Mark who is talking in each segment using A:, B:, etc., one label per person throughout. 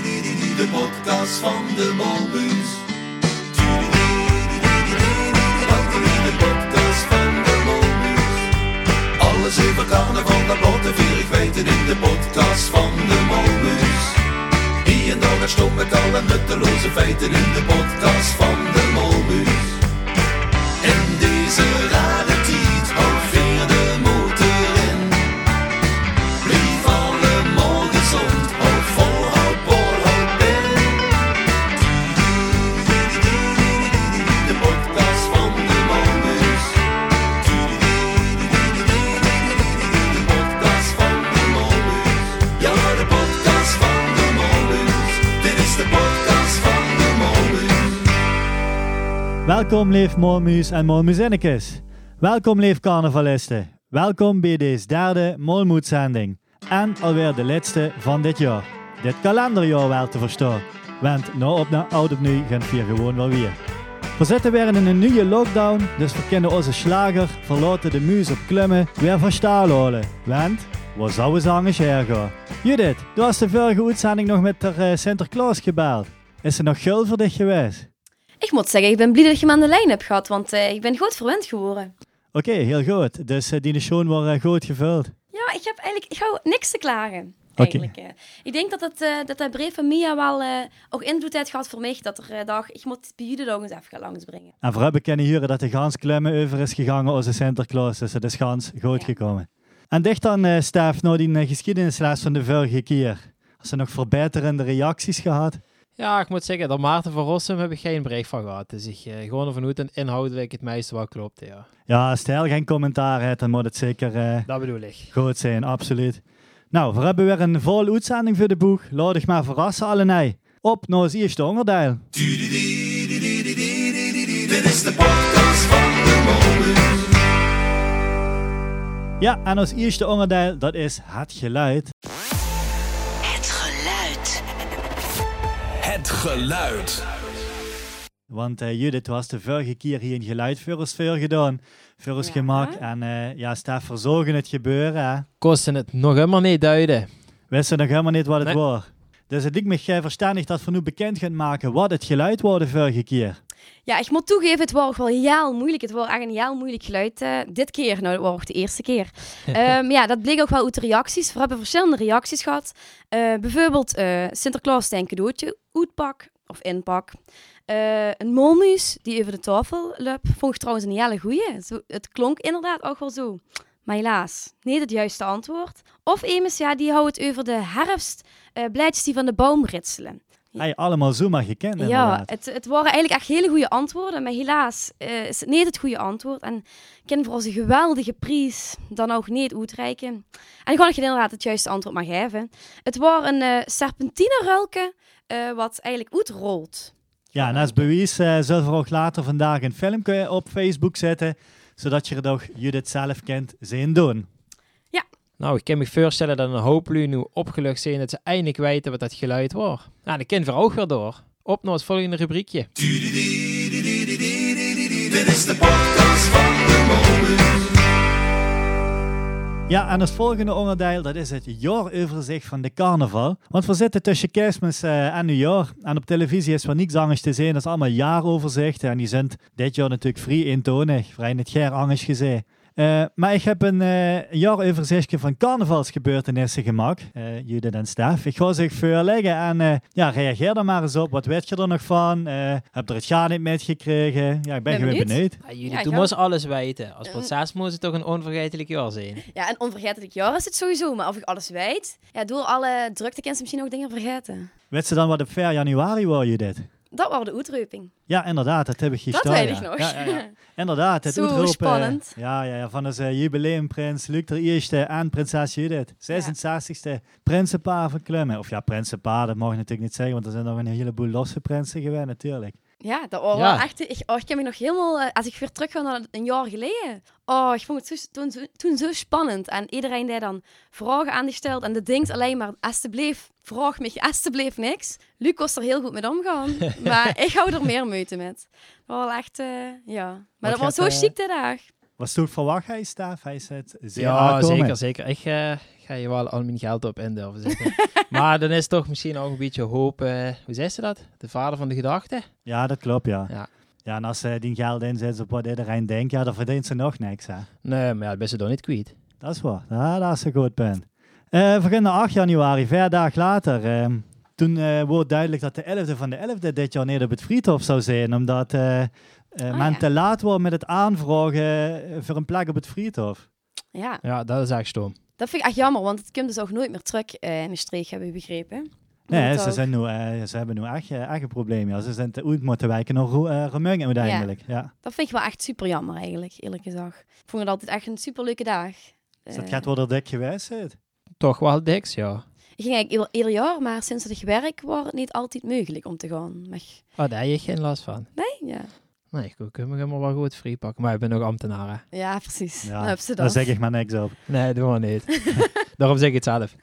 A: de podcast van de Molbus. de podcast van de Molbus. Alles even carnaval naar blote vier, ik weet het in de podcast van de Molbus. Wie en dan gaat stom met alle nutteloze feiten in de podcast van de Molbus. En deze rare tiet alweer de motor in. Blijf alle morgen zond, hou vol, hou bol, hou pen. De podcast van de Molbus. De podcast van de Molbus. Ja, de podcast van de Molbus. Dit is de podcast van de Molbus.
B: Welkom leef Molmuus en Molmuzinnekes. Welkom leef carnavalisten. Welkom bij deze derde Molmoedzending. En alweer de laatste van dit jaar. Dit kalenderjaar wel te verstaan. Want nou op naar oud opnieuw gaan vier gewoon wel weer. We zitten weer in een nieuwe lockdown, dus we kunnen onze slager, verlaten de muus op klimmen, weer van staal halen. Want, waar zouden ze anders heen gaan? Judith, du hast de vorige uitzending nog met de eh, Sinterklaas gebeld. Is er nog gul voor dich geweest?
C: Ik moet zeggen, ik ben blij dat je me aan de lijn hebt gehad, want eh, ik ben goed verwend geworden.
B: Oké, heel goed. Dus eh, die schoon wordt eh, goed gevuld.
C: Ja, ik heb eigenlijk gauw niks te klagen.
B: Oké.
C: Eigenlijk. eh. Ik denk dat, het, eh, dat dat brief van Mia wel eh, ook invloed heeft gehad voor mij. Dat er eh, dacht, ik moet bij jullie nog eens even gaan langsbrengen.
B: En vooruit bekennen hier dat de gans klemmen over is gegaan onze Sinterklaas. Dus het is gans goed
C: Ja.
B: gekomen. En dicht dan, eh Stef, nou die eh, geschiedenisles van de vorige keer. Als ze nog verbeterende reacties gehad?
D: Ja, ik moet zeggen, dat Maarten van Rossum heb ik geen bericht van gehad. Dus ik eh, gewoon ervan uit en inhoudelijk het meeste wel klopt, ja.
B: Ja, als hij geen commentaar heeft, dan moet het zeker eh,
D: Dat bedoel ik.
B: goed zijn, absoluut. Nou, we hebben weer een volle uitzending voor de boeg. Laat ik maar verrassen, allenij. Op naar ons eerste onderdeel.
A: Dit is de podcast van de Molbus.
B: Ja, en ons eerste onderdeel, dat is het geluid.
E: Het geluid.
F: Het geluid.
B: Want eh, Judith, was de vorige keer hier een geluid voor ons veel gedaan, voor ons
C: Ja.
B: gemaakt. En eh, ja, staat verzogen het gebeuren. Hè.
D: Kosten het nog helemaal niet duiden.
B: Wisten nog helemaal niet wat het
D: Nee.
B: was. Dus het lijkt me gij verstandig dat we nu bekend gaan maken wat het geluid was de vorige keer.
C: Ja, ik moet toegeven, het was ook wel heel moeilijk. Het was echt een heel moeilijk geluid eh, dit keer. Nou, dat was ook de eerste keer. Ehm, ja, dat bleek ook wel uit de reacties. We hebben verschillende reacties gehad. Eh, bijvoorbeeld eh, Sinterklaas die een cadeautje uitpak of inpak. Eh, een molmuis die over de tafel loopt. Vond ik trouwens een hele goeie. Zo, het klonk inderdaad ook wel zo. Maar helaas, niet het juiste antwoord. Of Emes, ja, die houdt het over de herfst eh blijtjes die van de boom ritselen. Ja.
B: Hij allemaal zo maar gekend
C: Ja,
B: inderdaad.
C: het, het waren eigenlijk echt hele goede antwoorden, maar helaas eh, is het niet het goede antwoord. En ik ken voor onze geweldige prijs dan ook niet uitreiken. En ik ga je inderdaad het juiste antwoord maar geven. Het was een eh serpentine ruilke, eh, wat eigenlijk uitrolt.
B: Ja, en als bewijs eh, zullen we ook later vandaag een filmpje op Facebook zetten, zodat je er nog Judith zelf kent zien doen.
D: Nou, ik kan me voorstellen dat een hoop lui nu opgelucht zijn dat ze eindelijk weten wat dat geluid was. Nou, de kind verhoogt weer door. Op naar het volgende rubriekje.
A: Dit is de podcast van de Molbus.
B: Ja, en het volgende onderdeel, dat is het jaaroverzicht van de carnaval. Want we zitten tussen kerstmis eh, en nieuwjaar. En op televisie is wel niks anders te zien. Dat is allemaal jaaroverzichten. En die zijn dit jaar natuurlijk vrij eentonig. Vrij niet gaar anders gezien. Eh, maar ik heb een eh, jaaroverzichtje van carnavalsgebeurtenissen gemaakt. eh Judith en Stef. Ik ga ze even voorleggen en eh, ja, reageer er maar eens op. Wat weet je er nog van? Eh, heb je er het gaan niet mee gekregen? Ja, ik ben,
C: Ben
B: gewoon
C: benieuwd.
B: benieuwd.
D: Ja, jullie,
C: Ja,
D: toen
C: ja.
D: moest alles weten. Als
C: Eh.
D: prinses moest het toch een onvergetelijk jaar zijn.
C: Ja, en onvergetelijk jaar is het sowieso, maar of ik alles weet, ja, door alle drukte kan ze misschien ook dingen vergeten.
B: Weet ze dan wat op 4 januari was, Judith?
C: Dat was de uitroeping.
B: Ja, inderdaad, dat heb ik
C: Dat
B: gisteren. ja.
C: weet ik nog.
B: Ja, ja, ja. Inderdaad, het
C: Zo
B: uitroep, eh,
C: spannend.
B: ja, ja, ja, van onze jubileumprins Luc de Eerste en prinses Judith. 66e prinsenpaar van Klemmen. Of ja, prinsenpaar, dat mag je natuurlijk niet zeggen, want er zijn nog een heleboel losse prinsen geweest natuurlijk.
C: Ja, dat was
D: Ja.
C: wel echt... Ik, oh, ik heb me nog helemaal... eh, Als ik weer terug ga naar een jaar geleden... Oh, ik vond het zo, toen, zo- toen zo spannend. En iedereen die dan vragen aan die stelt en die denkt alleen maar... Alsjeblieft, vraag me alsjeblieft niks. Luc was er heel goed mee omgaan. maar ik hou er meer moeite met. Dat was wel echt... eh, ja. Maar
D: Wat
C: dat was zo
D: gaat, eh,
C: chic die dag.
B: Was toen verwacht hij, Staaf? Hij is het zeer
D: ja,
B: aankomen.
D: zeker, zeker. Ik eh, ga ga je wel al mijn geld op in durven zetten. maar dan is toch misschien ook een beetje hoop. eh, hoe zei ze dat? De vader van de gedachte?
B: Ja, dat klopt, ja.
D: Ja.
B: Ja, en als ze die geld inzetten op wat iedereen denkt, ja, dan verdient ze nog niks, hè.
D: Nee, maar ja, dat ben ze dan niet kwijt.
B: Dat is waar. Ja, dat is een goed punt. Eh we gaan naar 8 januari, vier dagen later. Ehm, toen eh, wordt duidelijk dat de 11e van de 11e dit jaar niet op het Friedhof zou zijn, omdat eh, eh, men
C: Oh ja.
B: te laat wordt met het aanvragen eh, voor een plek op het Friedhof.
C: Ja,
D: Ja, dat is echt stom.
C: dat vind ik echt jammer, want het komt dus ook nooit meer terug eh, in de streek, hebben we begrepen.
B: Nee,
C: Want
B: ze,
C: ook-
B: zijn nu, eh, ze hebben nu echt, eh, echt een probleem. Ja. Ze zijn te uit moeten wijken naar Ro- eh, Romeinen uiteindelijk. Ja.
C: Dat vind ik wel echt super jammer eigenlijk, eerlijk gezegd. Ik vond het altijd echt een superleuke dag.
B: Dus dat
C: Eh,
B: gaat wel er dik geweest zijn.
D: Toch wel diks, ja.
C: Ik ging eigenlijk ieder, ieder jaar, maar sinds dat ik werk, wordt het niet altijd mogelijk om te gaan. Maar,
D: Oh, daar heb je geen last van.
C: nee, ja.
D: Nee, goed, kunnen we hem wel goed free pakken. Maar ik ben nog ambtenaar, hè.
C: ja, precies. Dan
B: Ja,
C: hebben ze
B: daar
C: dat.
B: zeg ik maar niks op.
D: Nee, doe maar niet. Daarom zeg ik het zelf.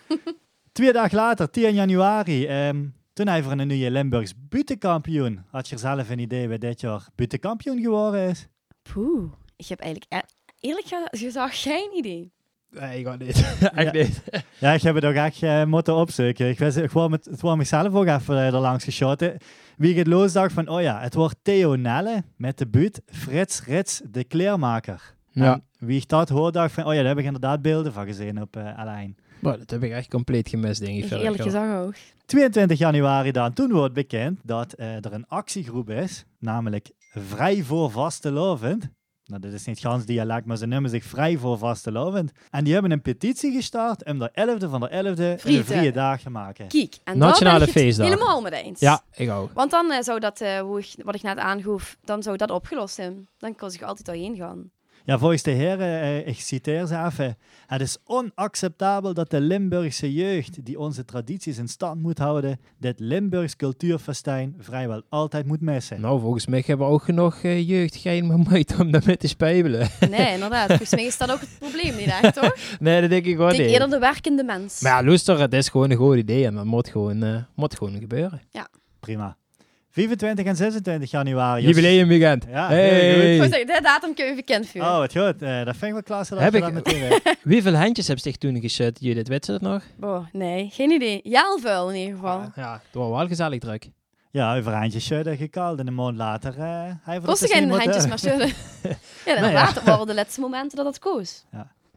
B: Twee dagen later, 10 januari, ehm, toen hij voor een nieuwe Limburgs buitenkampioen. Had je er zelf een idee wie dit jaar buitenkampioen geworden is?
C: Poeh, ik heb eigenlijk e- eerlijk ge- gezegd geen idee.
D: Nee, ik ga niet. echt
B: Ja.
D: niet.
B: Ja, ik heb het ook echt eh, moeten opzoeken. Ik wist, ik wou met, het was mezelf ook even eh, er langs geschoten. Wie ik het los dacht van, oh ja, het wordt Theo Nelle met de buurt Frits Rits, de kleermaker.
D: Ja.
B: En wie ik dat hoorde, dacht van, oh ja, daar heb ik inderdaad beelden van gezien op eh Alain.
D: Maar dat heb ik echt compleet gemist, denk ik.
C: Ik
D: verder,
C: eerlijk
D: joh.
C: gezegd ook.
B: 22 januari dan, toen wordt bekend dat eh, er een actiegroep is, namelijk Vrij voor Vastelovend. Nou, dit is niet gans dialect, maar ze noemen zich Vrij voor Vastelovend. En die hebben een petitie gestart om de 11e van de 11e een
C: Vrije.
B: vrije dag te maken.
C: Kiek. En
D: Nationale
C: daar ben ik het
D: feestdag.
C: Helemaal mee eens.
D: Ja, ik ook.
C: Want dan eh, zou dat, eh, hoe ik, wat ik net aangoef, dan zou dat opgelost zijn. Dan kon ik altijd al heen gaan.
B: Ja, volgens de heren, eh, ik citeer ze even. Het is onacceptabel dat de Limburgse jeugd, die onze tradities in stand moet houden, dit Limburgs cultuurfestijn vrijwel altijd moet missen.
D: Nou, volgens mij hebben we ook genoeg eh, jeugd geen moeite om daarmee te spijbelen.
C: Nee, inderdaad. Volgens mij is dat ook het probleem niet echt, toch?
D: Oh, Nee, dat denk ik wel
C: Ik denk
D: niet.
C: eerder de werkende mens.
D: Maar ja, luister, het is gewoon een goed idee en dat moet gewoon, eh, moet gewoon gebeuren.
B: Prima. 25 en 26 januari. Jos.
D: Jubileum weekend.
B: Ja,
D: hey.
B: heel
C: Ik wou zeggen, de datum kun je bekend vuren.
B: Oh, wat goed. Eh, dat vind ik wel klasse dat
D: Heb
B: je
D: ik-
B: dat meteen weet.
D: Hoeveel handjes heb zich toen gezet, Judith? Weet ze dat nog?
C: Boah, nee, geen idee. Ja, al vuil in ieder geval.
D: Ja, het was wel gezellig druk.
B: Ja, over eh, eindjes schudden gekald en een maand later. eh hij
C: Kosten geen handjes, maar zullen. ja, inderdaad, dat waren de laatste momenten dat dat koos.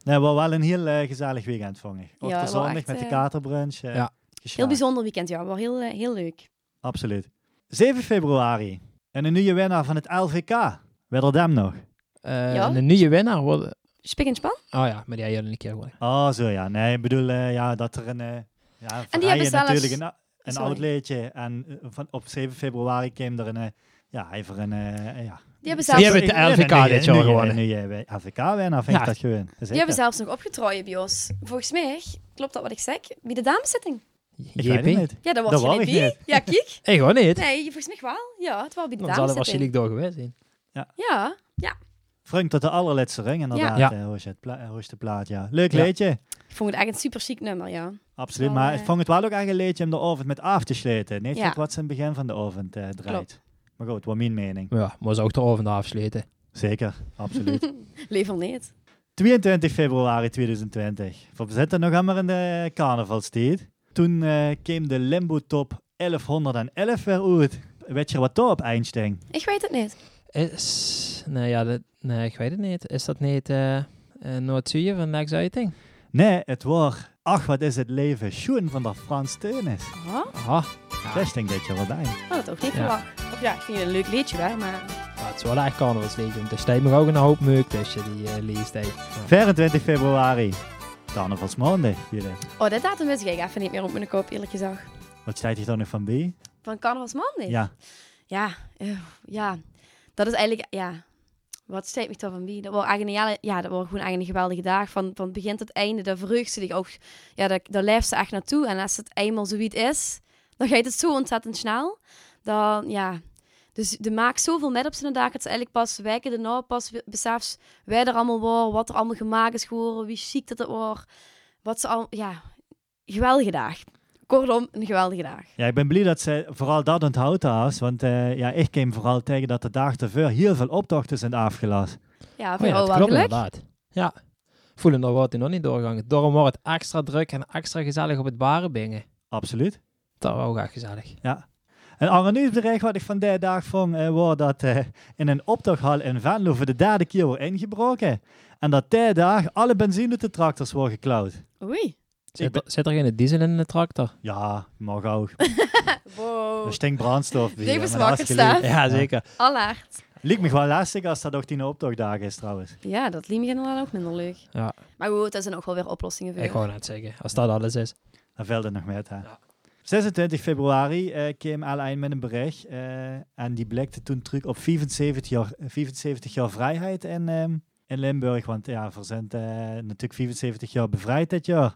B: Nee, we wel een heel eh, gezellig weekend, vond ik. Op
C: Ja,
B: de
C: wel
B: zondag
C: echt,
B: met de
C: eh,
B: katerbrunch. eh,
D: Ja.
B: geslaagd.
C: Heel bijzonder weekend, ja. Wel heel, eh, heel leuk.
B: Absoluut. 7 februari. En een nieuwe winnaar van het LVK. Wedderdam nog.
D: Eh,
C: Ja?
D: en Een nieuwe winnaar worden.
C: Spik en span.
D: Oh ja, maar die hadden een keer gewonnen.
B: Oh, zo ja. Nee, ik bedoel eh, ja, dat er een... eh ja, voor
C: hebben
B: Heijen
C: zelfs-
B: natuurlijk een, een
C: Sorry.
B: outletje. En eh, van, op 7 februari kwam er een... eh, ja, even een... eh, ja.
C: Die hebben
D: Die
C: zelfs,
D: hebben het LVK dit jaar gewonnen.
B: Nu je LVK-winnaar vind
D: Ja.
B: ik nou, dat gewin. Zeker.
C: die hebben zelfs nog opgetrooien bij ons. Volgens mij, klopt dat wat ik zeg, bij de dameszitting.
B: Ik weet het
D: JP?
B: niet.
C: Ja, daar
B: Dat
C: was je
B: wou
C: niet
B: ik
C: bij. Ja, kijk.
D: Ik gewoon niet.
C: Nee, volgens mij wel. Ja, het was bij de
D: Dan zal er
C: dameszitting.
D: waarschijnlijk door geweest zijn.
C: Ja.
B: Frank tot de allerlaatste ring, inderdaad.
D: Ja.
B: Ja. hoe, is het pla- eh, hoe is de plaat, ja. Leuk
D: Ja.
B: leedje.
C: Ik vond het echt een super chic nummer, ja.
B: Absoluut,
C: Wel,
B: maar
C: eh,
B: ik vond het wel ook echt een leedje om de avond met af te sleten. Net
C: Ja.
B: wat ze in het begin van de avond eh, draait.
C: Klopt.
B: Maar goed, wat mijn mening.
D: Ja, maar ze ook de avond afsluiten.
B: Zeker, absoluut.
C: Lever niet.
B: 22 februari 2020. We zitten nog maar in de carnavalstijd. Toen eh kwam de Limbo Top 1111 weer uit. Weet je wat top, Einstein?
C: Ik weet het niet.
D: Is... Nee, ja, dat... nee, ik weet het niet. Is dat niet eh eh, Noord-Zuid van Lex Uiting?
B: Nee, het was... Ach, wat is het leven. Schoen van de Frans Teunis.
C: Oh,
D: Aha.
B: Ja. Dat denk ik er wel bij.
C: had het ook niet
D: Ja.
C: verwacht. Of ja, ik vind het een leuk liedje wel, maar...
D: Ja, het is wel echt carnavalsleven. Want er staat me ook een hoop meuk tussen die eh leestijd. Ja.
B: 24 februari. Carnavals maandag, jullie.
C: Oh, dat datum wist ik even niet meer op mijn kop, eerlijk gezegd.
B: Wat staat hier dan nog van bij?
C: Van Carnavalsmaandag.
B: Ja.
C: Ja, eh, ja, dat is eigenlijk, ja, wat steekt me toch van wie? Dat wordt eigenlijk een, hele- ja, dat wordt gewoon eigenlijk een geweldige dag. Van, van het begin tot het einde, daar verheugt ze zich ook, ja, daar, daar leeft ze echt naartoe. En als het eenmaal zoiets is, dan gaat het zo ontzettend snel. Dan, ja, dus de maakt zoveel met op zijn dag, dat ze eigenlijk pas wijken daarna pas we- beseft ze wij er allemaal waren, wat er allemaal gemaakt is geworden, wie ziek dat het wordt. Wat ze al, ja, geweldige dag. Kortom, een geweldige dag.
B: Ja, ik ben blij dat ze vooral dat onthoudt haast. Want eh, ja, ik kwam vooral tegen dat de dag ervoor heel veel optochten zijn afgelast.
C: Ja,
D: Oh
C: voor
D: ja,
C: jou
D: dat
C: wel
D: klopt
C: geluk.
D: inderdaad. Ja. voelen dat wordt die nog niet doorgegaan. Daarom wordt het extra druk en extra gezellig op het barenbingen.
B: Absoluut.
D: Dat was ook echt gezellig.
B: Een ander nieuwsbericht wat ik van deze dag vond, eh, was dat eh, in een optochthal in Venlo voor de derde keer wordt ingebroken. En dat deze dag alle benzine uit de tractors wordt geklauwd.
C: Oei.
D: Zit,
B: ben-
D: er, zit er geen diesel in de tractor?
B: Ja, mag ook.
C: Wow.
B: Er stinkt brandstof. bier,
C: Dave
B: maar
C: is wakker,
B: hartstikke
C: Stef.
B: leuk.
D: Ja, zeker.
C: Allard.
B: Liek me gewoon lastig als dat ook die optochtdag is trouwens.
C: Ja, dat liep me inderdaad ook minder leuk.
D: Ja.
C: Maar goed, daar zijn ook wel weer oplossingen voor.
D: Ik wou net zeggen, als dat alles is.
B: Dan valt het nog met. Hè. 26 februari eh kwam Alain met een bericht. eh, en die blikte toen terug op 75 jaar, 75 jaar vrijheid in, ehm, in Limburg. Want ja, we zijn eh, natuurlijk 75 jaar bevrijd dit jaar.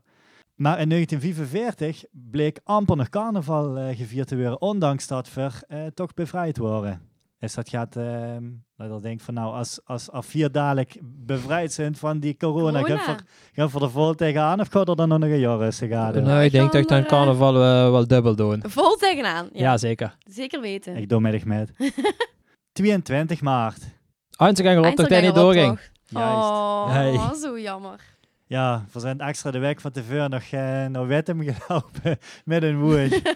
B: Maar in 1945 bleek amper nog carnaval eh, gevierd te worden, ondanks dat we eh, toch bevrijd waren. Dus dat gaat, ehm dat ik denk van nou, als, als, als vier dadelijk bevrijd zijn van die corona,
C: Corona.
B: Gaan, we, gaan we er vol tegenaan of gaat er dan nog een jaar rustig aan? doen?
D: nou, ik denk dat ik
C: Kan
D: dan
C: er, eh,
D: carnaval eh, wel dubbel doen.
C: Vol tegenaan. Ja,
D: Ja, zeker.
C: zeker weten.
B: Ik doe middag met. 22 maart.
D: Einzelganger optocht die niet doorging.
C: Eindselgangeroptocht.
B: Juist.
C: Oh,
D: Hey.
C: zo jammer.
B: Ja, we zijn extra de week van tevoren nog eh naar Wettem gelopen met een woed.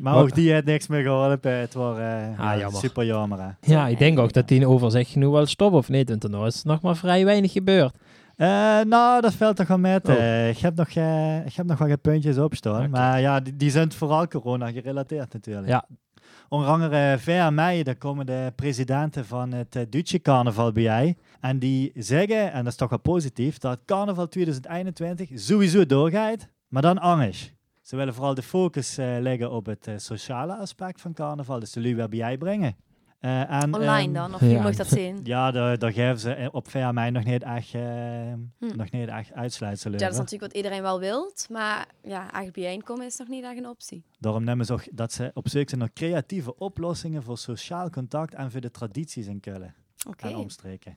B: maar ook die heeft niks meer geholpen. Het was eh,
D: Ah, jammer.
B: super jammer. hè.
D: Ja, ik denk ook dat die over zich genoeg wel stop of niet. Want dan is nog maar vrij weinig gebeurd.
B: Eh, nou, dat valt toch wel met.
D: Oh.
B: eh. ik, heb nog, eh, ik heb nog wat puntjes opstaan.
D: Oké.
B: Maar ja, die, die zijn vooral corona gerelateerd natuurlijk.
D: Ja.
B: Onder andere 4 mei, daar komen de presidenten van het eh, Duitse carnaval bij. En die zeggen, en dat is toch wel positief, dat carnaval 2021 sowieso doorgaat, maar dan anders. Ze willen vooral de focus eh, leggen op het eh, sociale aspect van carnaval, dus de lui weer bij brengen. Eh, en,
C: Online
B: ehm,
C: dan, of je
D: ja.
C: mag dat zien?
B: ja, daar, daar geven ze eh, op 4 mei nog niet echt, eh,
C: Hm.
B: nog niet echt uitsluitsel
C: Ja, dat is
B: over.
C: natuurlijk wat iedereen wel wilt, maar ja, echt bijeenkomen is nog niet echt een optie.
B: Daarom nemen ze ook dat ze op zoek zijn naar creatieve oplossingen voor sociaal contact en voor de tradities in Keulen
C: Oké,
B: en omstreken.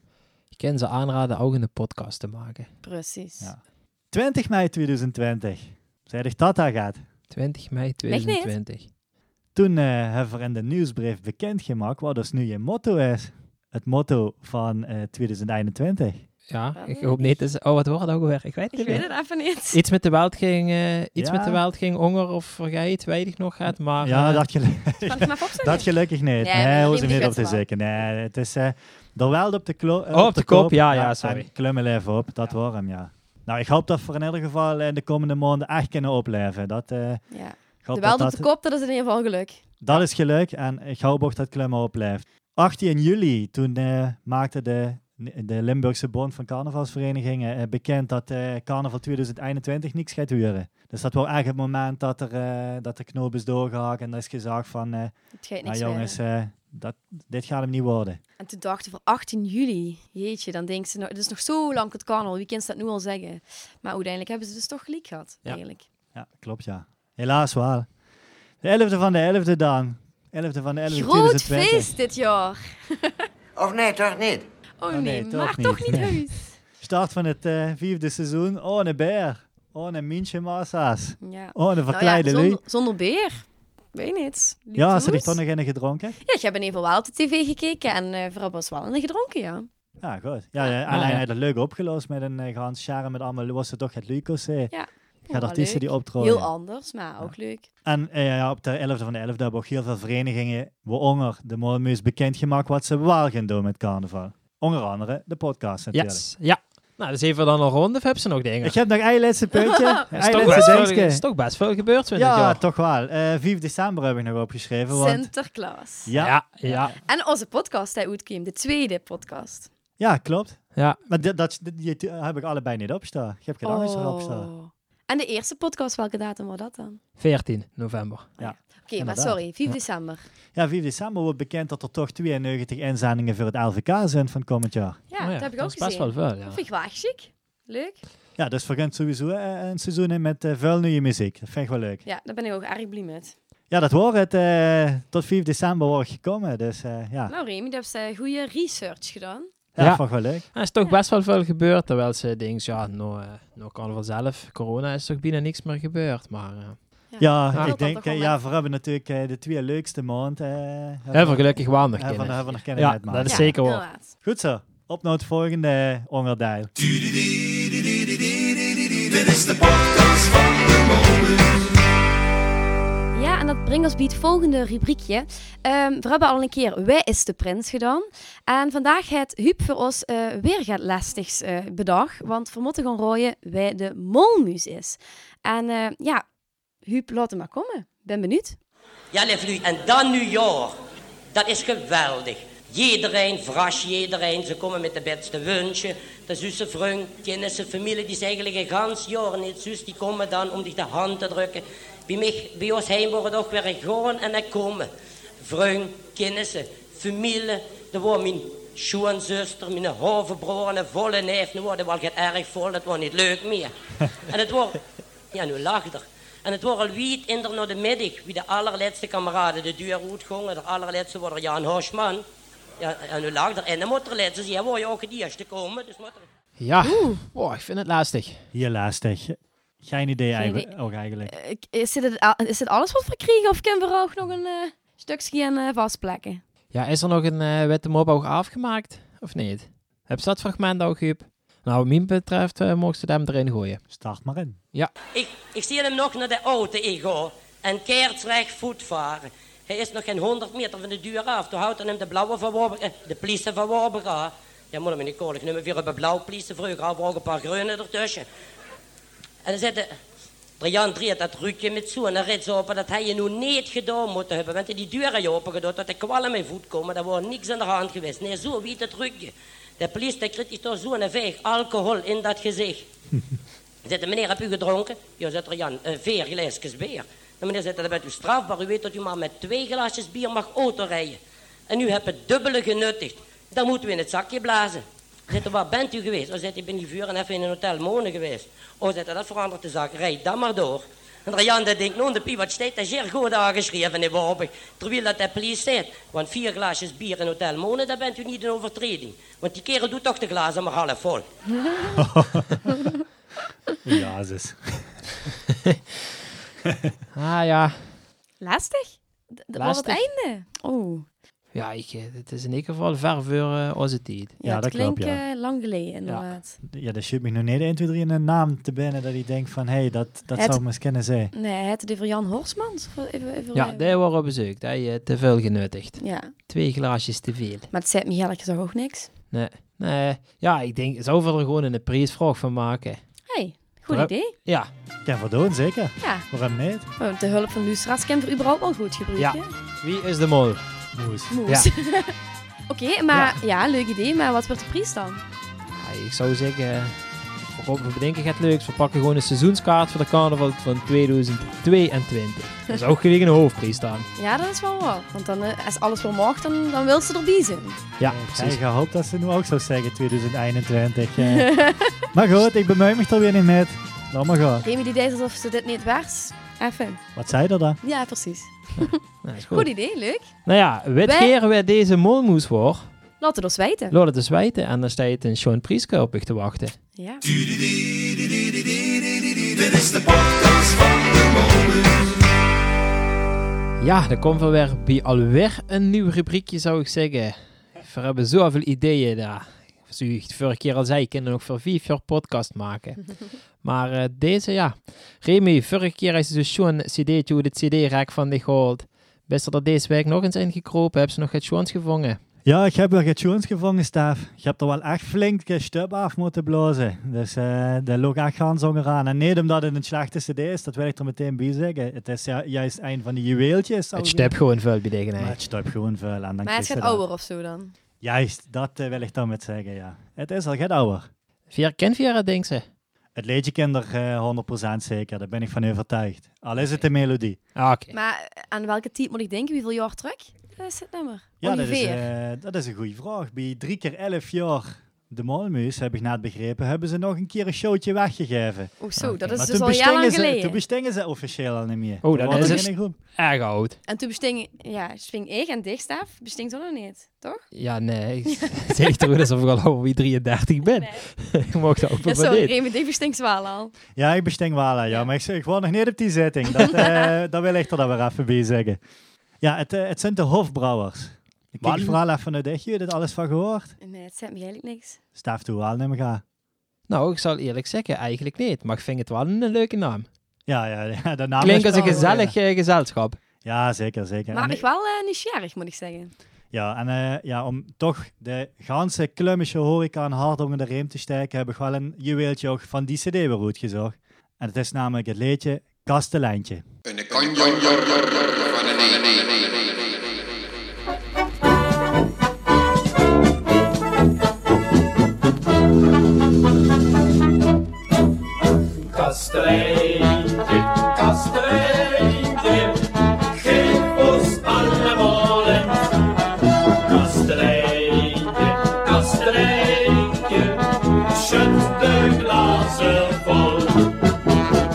D: Ik kan ze aanraden ook in de podcast te maken.
C: precies.
B: Ja. 20 mei 2020, zei ik dat daar gaat.
D: 20 mei 2020.
B: Toen eh, hebben we in de nieuwsbrief bekendgemaakt wat dus nu je motto is. Het motto van eh, 2021.
D: Ja, ik hoop niet. dat ze- Oh, wat wordt dat ook weer? Ik weet het
C: Ah, Ik
D: niet
C: weet
D: meer.
C: het even niet.
D: Iets met de wereld ging, eh, iets
B: Ja.
D: met de wereld ging honger of vergeet, weet ik nog gaat, maar
B: ja,
D: eh,
B: dat, gelu-
C: Kan ik maar opzetten?
B: dat gelukkig niet.
C: maar
B: nee,
C: dat
B: hoef je
C: neemt
B: niet
C: de
B: op te
C: vet wel.
B: zeker. Nee, het is eh er wel op de, klo- eh,
D: Oh, op de kop. Ja, ja,
B: en
D: sorry.
B: Klummel even op, dat warm ja. Nou, ik hoop dat we in ieder geval in de komende maanden echt kunnen opleven. Dat, eh, ik
C: Ja.
B: hoop
C: De
B: dat,
C: weld op de
B: dat-
C: kop, dat is in ieder geval geluk.
B: Dat is geluk en ik hoop ook dat Klemmen opblijft. 18 juli, toen eh, maakte de, de Limburgse Bond van Carnavalsverenigingen eh, bekend dat eh, Carnaval 2021 niks gaat huren. Dus dat was eigenlijk het moment dat, er, eh, dat de knoop is doorgehaakt en er is gezegd van, eh
C: Het gaat
B: nou
C: niks
B: jongens,
C: meer.
B: eh, dat, dit gaat hem niet worden.
C: En toen dachten we, 18 juli, jeetje, dan denken ze, nou, het is nog zo lang het carnaval, wie kan ze dat nu al zeggen? Maar uiteindelijk hebben ze dus toch gelijk gehad,
D: Ja.
C: eigenlijk.
B: Ja, klopt ja. Helaas wel. De 11e van de 11e dan. 11e van de 11e
C: Groot
B: 2020.
C: feest dit jaar!
E: Of nee, toch niet?
C: Oh
B: nee,
C: nee,
B: toch
C: maar
B: niet.
C: toch niet heus.
B: Start van het eh, vierde seizoen. Oh, een beer. Oh, een Mintje Massa's.
C: Ja.
B: Oh, een verkleide
C: nou
B: lui.
C: ja, zonder, zonder beer. Weet niet. Liet
B: Ja,
C: het
B: ze heeft
C: goed.
B: toch nog in gedronken?
C: Ja, ik heb in ieder geval wel op de tv gekeken en eh vooral was wel in gedronken, ja.
B: Ja, goed. Ja, ja.
D: Ah,
B: alleen
D: ja.
B: had het leuk opgelost met een uh, gans scharen met allemaal was het toch het Lucas. eh. Ja,
C: Ja,
B: gaat artiesten die
C: leuk.
B: optreden.
C: Heel anders, maar ook leuk.
B: En eh, ja, op de 11e van de 11e hebben ook heel veel verenigingen, waaronder de Molmuis, bekendgemaakt wat ze wel gaan doen met carnaval. Onder andere de podcast natuurlijk.
D: yes, ja. Nou, dus even dan een ronde of heb ze nog dingen?
B: Ik heb nog één laatste puntje.
D: is,
B: Eén laatste
D: toch best veel,
B: dingetje.
D: is toch best veel gebeurd, vind ik.
B: Ja,
D: joh.
B: toch wel. Eh 5 december heb ik nog opgeschreven. Want,
C: Sinterklaas.
B: ja, ja.
D: Ja, ja,
C: En onze podcast, hè, Oetkiem, de tweede podcast.
B: klopt.
D: ja.
B: Maar dat, dat, die heb ik allebei niet opstaan. Ik heb geen anders erop staan.
C: Oh. En de eerste podcast, welke datum was dat dan?
D: 14 november.
C: Oké, maar
B: Inderdaad.
C: sorry, 5 december.
B: Ja, 5 december wordt bekend dat er toch 92 inzendingen voor het LVK zijn van komend jaar.
C: Ja,
D: Oh
C: dat heb ik ook
D: is best
C: gezien.
D: wel veel, ja.
C: Dat vind ik wel echt chic. Leuk.
B: Ja, dus we gaan sowieso eh, een seizoen in met eh, veel nieuwe muziek. Dat vind ik wel leuk.
C: Ja, daar ben ik ook erg blij met.
B: Ja, dat hoor het. eh, tot 5 december wordt gekomen. Dus eh, ja,
C: Nou, Remy, daar heb je goede research gedaan.
B: Ja,
D: Ja.
B: dat vond ik wel leuk.
D: Er is toch best wel veel gebeurd, terwijl ze denkt, ja, nou, eh, nou kan vanzelf. Corona is toch bijna niks meer gebeurd, maar... eh,
B: Ja,
D: Ja.
B: ik
C: Dat
B: denk,
C: toch wel
B: eh,
C: leuk.
B: ja, we hebben natuurlijk eh, de twee leukste maanden. eh,
D: heel veel gelukkig waren nog
B: hebben we-
D: kinderen.
B: hebben we nog kennis
D: Ja,
B: met maken.
D: dat is zeker waar.
C: inderdaad.
B: Goed zo. Op naar het volgende onderdeel.
A: Tudidi. is de podcast van de Molus.
C: Ja, en dat brengt ons bij het volgende rubriekje. Ehm, we hebben al een keer Wij is de Prins gedaan. En vandaag heeft Huub voor ons eh, weer gaat lastigs eh bedag. Want we moeten gaan rooien wij de molmuus is. En eh, ja, Huub, laat hem maar komen. Ben benieuwd.
G: Ja, lief lui, en dan New York. Dat is geweldig. Iedereen, vras iedereen, ze komen met de beste wensen. De zussen, vriend, kennissen, familie, die zijn eigenlijk een gans jaar niet zus. Die komen dan om zich de hand te drukken. Bij, mij, bij ons heen worden ook weer gewoon en dan komen. Vriend, kennissen, familie, er wordt mijn schoonzuster, mijn halve en een volle neef. Nu wordt het wel geen erg vol, dat wordt niet leuk meer. en het wordt, ja nu lacht er. En het wordt al wiet in de naar de middag, wie de allerlaatste kameraden de deur uitgongen. De allerlaatste wordt er Jan Horsman. Ja, en nu lag er in de motterlaatste, zei, ja, wou je ook het eerste komen. Dus moet er-
D: Ja, wow, ik vind het lastig.
B: Hier lastig. Geen idee eigenlijk.
C: idee.
B: Ook eigenlijk.
C: Eh, is, dit het, al- is dit alles wat we kregen of kunnen we er ook nog een eh, stukje aan eh, vastplakken?
D: Ja, is er nog een eh witte mop ook afgemaakt? Of niet? Heb je dat fragment ook, Huub? Nou, wat mij betreft eh mocht ze hem erin gooien.
B: Start maar in.
G: Ik, ik zie hem nog naar de auto, Ego. En keert recht voet varen. Hij is nog geen 100 meter van de deur af. Toen houdt hij hem de blauwe verworpen, eh, de police verworpen gaan. Ja, moet hem in de kolig nummer weer op een blauw police vroeger. Al ook een paar groene ertussen. En dan zegt hij, Brian dreert dat ruutje met zo'n rits open. Dat hij je nu niet gedaan moeten hebben. Want hij die deur had je open gedaan, dat de kwallen mee voet komen. Daar wordt niks aan de hand geweest. Nee, zo wiet het trucje. De police die kritisch door zo'n veeg alcohol in dat gezicht. Zegt de meneer, heb u gedronken? Ja, zegt er Jan, eh, vier glaasjes bier. De meneer zegt, dan bent u strafbaar. U weet dat u maar met twee glaasjes bier mag autorijden. En u hebt het dubbele genuttigd. Dan moeten we in het zakje blazen. Zegt er, waar bent u geweest? Oh, zegt hij, ik ben die vuur en even in een hotel Monen geweest. Oh, zegt hij, dat verandert de zaak. Rijd dan maar door. En Jan dat denkt, nou, de pie wat steekt, dat is zeer goed aangeschreven in Warburg. Terwijl dat de police zegt, want vier glaasjes bier in Hotel Monen, daar bent u niet in overtreding. Want die kerel doet toch de glazen maar half vol.
B: Ja, zus.
D: Ah ja,
C: Lastig? D- Dat was het
D: Lastig.
C: einde. Oeh.
D: ja ik, eh, het is in ieder geval ver voor eh, onze tijd.
B: Ja,
C: het
B: dat klopt,
C: klinkt
B: ja.
C: eh, lang geleden inderdaad.
B: Ja, dat shoot me nog niet 1, 2, 3 in een naam te binnen dat ik denk van, hé, hey, dat, dat
C: Het-
B: zou ik maar eens eh, kunnen zijn.
C: Nee, het is voor Jan Horsmans. Of eh, even- even-
D: Ja, die waren op bezoek. Dat je eh, te veel genuttigd.
C: ja.
D: Twee glaasjes te veel.
C: Maar het zet me eerlijk gezegd ook niks.
D: Nee, ja, ik denk, zou we er gewoon een prijsvraag van maken?
C: hey, goed
D: Ja.
C: idee.
D: Ja,
B: Ja, verdoen, zeker.
C: Ja,
B: Waarom niet?
C: maar de hulp van Lustra's kan voor überhaupt wel goed gebruiken.
D: wie is de mol?
B: Moes.
C: Moes. Oké, maar ja. leuk idee. Maar wat wordt de prijs dan?
D: Ja, ik zou zeggen, eh, we we bedenken het leuks. We pakken gewoon een seizoenskaart voor de carnaval van 2022. Dat zou ook gelijk een hoofdprijs staan.
C: Ja, dat is wel wat. Want dan, eh, als alles wel mag, dan, dan wil ze erbij zijn.
D: Ja,
B: Ik
D: precies.
B: Eh, gehoopt dat ze nu ook zou zeggen 2021. eh. maar goed, ik bemui me er weer niet met. Laat maar gaan.
C: Remy die deed alsof ze dit niet was. Even.
B: Wat zei er dan?
C: Ja, precies.
D: Ja, is
C: Goed
D: goed.
C: idee, leuk.
D: Nou ja, weet
C: Wij-
D: keren we deze molmoes voor,
C: Laat het ons weten.
D: laat het eens weten en dan staat een Sean Prieske op je te wachten.
C: Ja.
A: Dit is de podcast van de Molus.
D: Ja, dan komt er weer bij alweer een nieuw rubriekje, zou ik zeggen. We hebben zoveel ideeën daar. Zoals u het vorige keer al zei, ik kan nog voor vijf jaar podcast maken. maar eh, deze, ja. Remy, vorige keer is dus zo'n cd'tje uit het cd-rack van de gehaald. Best dat er deze week nog eens ingekropen. Heb ze nog het schoons
C: Oh,
D: gevangen?
B: Ja, ik heb wel getunes gevangen, Staaf. Ik heb er wel echt flink gestub af moeten blazen. Dus eh daar loop ik echt gaan zonger aan. En niet omdat het een slechte cd is, dat wil ik er meteen bij zeggen. Het is ju- juist een van die juweeltjes. zou
D: Het
B: ik
D: step gewoon veel bij
B: zeggen. Maar het
D: de
B: stub gewoon veel. En dan
C: Maar het
B: kies je
C: gaat
B: dat.
C: ouder of zo dan.
B: Juist, dat eh, wil ik dan met zeggen, ja. Het is al gaat ouder.
D: Vier kent Viera, denk ze.
B: Het leedje kinder eh 100% zeker, daar ben ik van overtuigd. Al is het de melodie.
D: Ah, oké.
C: Maar eh, aan welke tijd moet ik denken? Hoeveel jaar terug eh, is het nummer?
B: Ja, dat is, eh,
C: Ongeveer.
B: dat is een goede vraag. Bij drie keer elf jaar de Molmuis, heb ik net begrepen, hebben ze nog een keer een showtje weggegeven.
C: Oh, zo, dat is
B: Maar
C: dus
B: toen
C: al jaren
B: bestingen ze, toen
C: geleden.
B: bestingen ze officieel al niet meer. Toen
D: dan
B: waren
D: Oh, is dus-
B: ze
D: het-
B: in een groep.
D: Erg oud.
C: En toen besting, ja, swing ik en dichtstaaf, bestingt ook nog niet, toch?
D: Ja, nee. Ik zeg toch wel alsof ik al over wie 33 ben. ik mocht ook
C: Ja,
D: wel van
C: sorry,
D: dit.
C: Remy, die bestingt wel al.
B: Ja, ik besting wel, hè, ja. Maar ik, zeg, ik woon nog niet op die zitting. Dat, eh, dat wil ik er dan weer even bij zeggen. Ja, het, eh, het zijn de Hofbrouwers. Ik kijk
D: Wat?
B: vooral even naar de Heb je dit alles van gehoord?
C: Nee, het zet me eigenlijk niks.
B: Staaf toe wel, neem ik aan.
D: Nou, ik zal eerlijk zeggen, eigenlijk niet. Maar ik vind het wel een leuke naam.
B: Ja, ja, ja de naam
D: Klinkt
B: is
D: als een
B: wel-
D: gezellig eh, gezelschap.
B: Ja, zeker, zeker.
C: Maar
B: En-
C: ik wel eh nieuwsgierig, moet ik zeggen.
B: Ja, en eh, ja, om toch de ganse klummische horeca een hard onder de riem te steken, heb ik wel een juweeltje ook van die cd weer uitgezocht. En het is namelijk het leedje Kasteleintje.
H: Een kanjer van een
I: Kasteleintje, kasteleintje, geef ons allemaal een. Kasteleintje, kasteleintje, schud de glazen vol.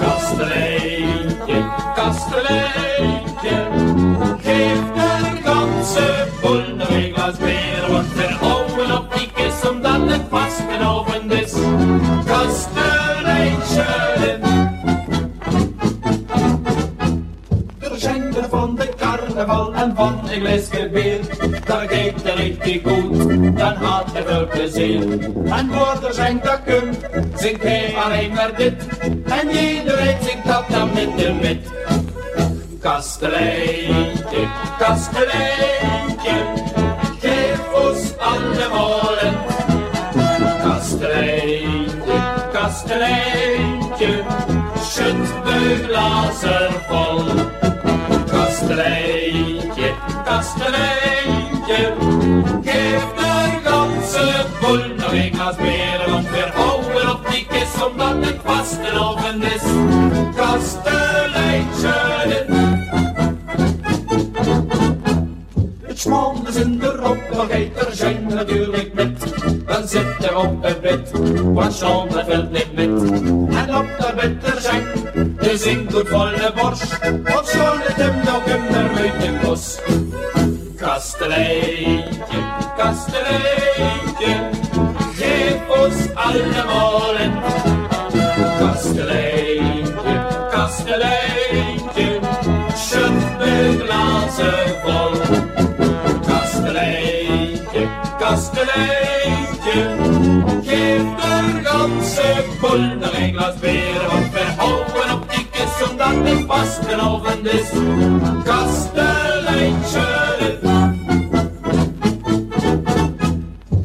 I: Kasteleintje, kasteleintje, geef de ganse boel nog een glas bier. Want de oude optiek is omdat het vastgenomen is. Kasteleintje in. Er zijn er van de carnaval en van een glaasje bier. Daar geeft het richtig goed, dan had hij veel plezier. En voor er zijn takken, zingt hij alleen maar dit. En iedereen zingt dat dan met de mit. Kasteleintje, kasteleintje, geef ons allemaal een Kasteleintje, kasteleintje, schud de glazen vol. Kasteleintje, kasteleintje, geef de ganse boel nog een glas bier. Want weer houden op die kist, omdat het vast en oven is. Kasteleintje, dit. Het smaan is in de rok, maar gij er zijn natuurlijk met. Dan zit er op het bed, want Sean dat wil niet met. En op dat bed er zijn, de zing doet volle borst. Of zal het hem nog immer uit de bos? Kasteleintje, kasteleintje, geef ons allemaal een. Kasteleintje, kasteleintje, schud de glazen vol. Kasteleintje, kasteleintje, geef de ganse boel nog een glas bier. Want we houden op die kist omdat het vast en oven is. Kasteleintje,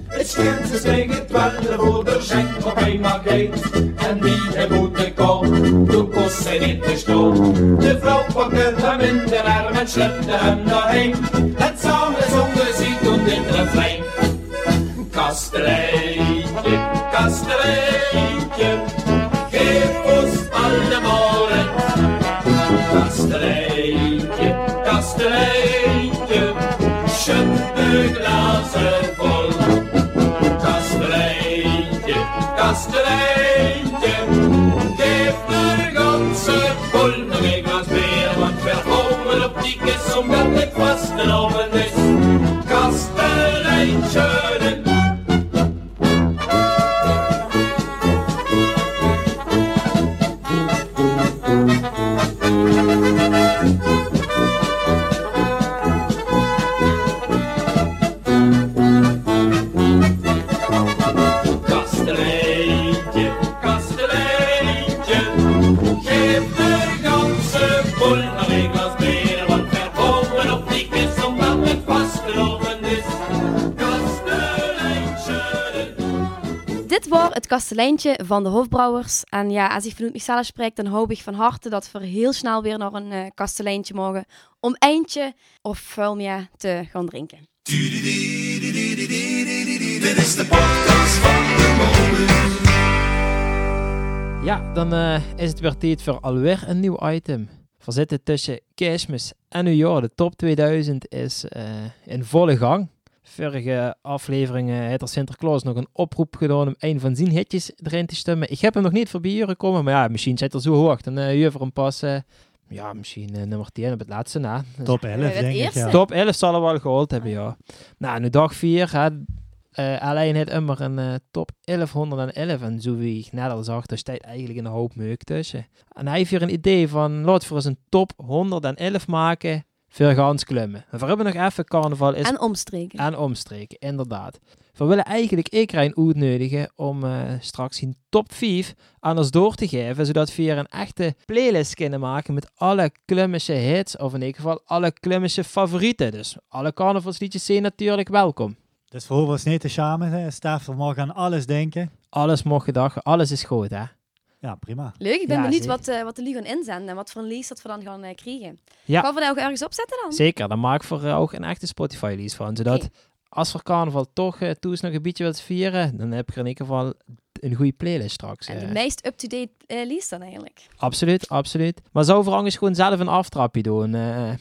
I: het schijnt ze tegen twaalf roder zijn op eenmaal geet. En wie hij moet de koop, toen kost hij niet de stoot. De vrouw pakte hem in de arm en slepte hem daarheen. Het samen zongen ze toen dit refrein. Kasteleintje, kasteleintje, geef ons allemaal een Kasteleintje, kasteleintje, schud de glazen vol. Kasteleintje, kasteleintje, geef de ganse boel nog een glas bier. Want we houden op die kist omdat het vast en oven is. Kasteleintje, de Kasteleintje, kasteleintje, geef de ganse boel nog een glas bier, want we komen op die kist omdat het vastgelopen is. Kasteleintje,
C: Dit was het kasteleintje van de Hofbrouwers. En ja, als ik vanuit mezelf spreek, dan hoop ik van harte dat we heel snel weer naar een eh, kasteleintje mogen om eindje of vulmia te gaan drinken.
A: Dit is de podcast van de Molus.
D: Ja, dan eh, is het weer tijd voor alweer een nieuw item. We zitten tussen kerstmis en nieuwjaar. De top 2000 is eh, in volle gang. Vorige aflevering eh, heeft er Sinterklaas nog een oproep gedaan om een van zijn hitjes erin te stemmen. Ik heb hem nog niet voorbij horen komen, maar ja, misschien zit er zo hoog. Dan eh huur voor hem pas, eh, ja, misschien eh, nummer 10 op het laatste na. Dus
B: Top 11,
C: het
B: denk ik.
C: eerste.
B: Ja.
D: Top 11 zal er wel gehoord hebben, ja. Nou, nu dag 4 gaat eh, alleen het immer een eh, top 1111. En zo wie ik net al zag, er staat eigenlijk een hoop meuk tussen. En hij heeft hier een idee van, laten we eens een top 111 maken Veel gansklummen. Maar we hebben nog even carnaval is
C: En omstreken.
D: en omstreken, inderdaad. We willen eigenlijk iedereen uitnodigen om eh, straks een top 5 aan ons door te geven, zodat we hier een echte playlist kunnen maken met alle klummische hits, of in ieder geval alle klummische favorieten. Dus alle carnavalsliedjes zijn natuurlijk welkom.
B: Dus voor ons niet te schamen, hè, eh, Stef. We mogen aan alles denken.
D: Alles mocht gedacht, alles is goed hè.
B: Ja, prima.
C: Leuk, ik ben
D: Ja,
C: benieuwd
D: zeker.
C: wat, eh, wat de Ligon inzenden en wat voor een lees dat we dan gaan eh, krijgen.
D: Ja.
C: Gaan we daar ook ergens opzetten dan?
D: Zeker, dan maak ik voor eh, ook een echte Spotify-lijst van, zodat
C: Oké.
D: als we carnaval toch eh, toe is nog een beetje wilt vieren, dan heb ik er in ieder geval een goede playlist straks.
C: En de
D: eh.
C: meest up-to-date eh lees dan eigenlijk.
D: Absoluut, absoluut. Maar zou vooral eens gewoon zelf een aftrapje doen. eh.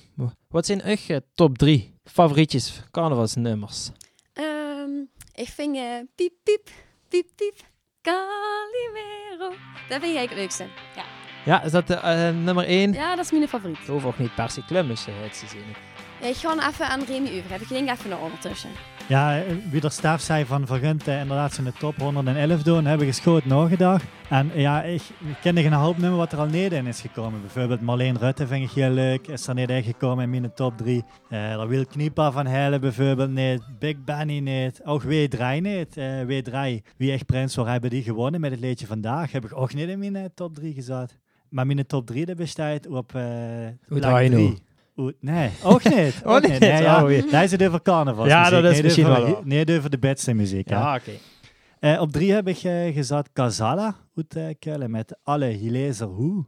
D: wat zijn echt eh, top drie favorietjes carnavalsnummers?
C: Ehm, ik vind eh, piep, piep, piep, piep, Calimero. Dat vind ik eigenlijk het leukste. Ja,
D: Ja, is dat de, eh, nummer één?
C: ja dat is mijn favoriet.
D: Het hoeft ook niet per se klummische hits te zien.
C: Ja, ik ga hem even aan Remy over. Heb ik denk even naar ondertussen.
B: Ja, eh, wie er Stef zei van Vergunt, eh, inderdaad ze in de top 111 doen, hebben geschoten nog gedacht. En eh, ja, ik ik ken geen hoop nummer wat er al neder in is gekomen. Bijvoorbeeld Marleen Rutte vind ik heel leuk, is er niet in gekomen in mijn top 3. Eh daar wil Kniepa van Heilen bijvoorbeeld niet, Big Benny niet, ook W3 niet. Eh W3, wie echt prins zou hebben die gewonnen met het leedje vandaag, heb ik ook niet in mijn eh, top 3 gezet. Maar mijn top 3 dat bestaat op eh plek
D: draai je
B: drie.
D: nou?
B: Oeh, nee, ook niet.
D: Oh,
B: ook
D: niet.
B: Nee, ja.
D: Oh, weer.
B: Daar is het over carnaval.
D: Ja, dat is
B: nee,
D: misschien
B: over,
D: wel waar.
B: Nee, over de beste muziek. hè.
D: oké.
B: Eh, op drie heb ik eh, gezet Kazala uit eh Keulen met Alle Hilezer Hoe.
C: Oeh,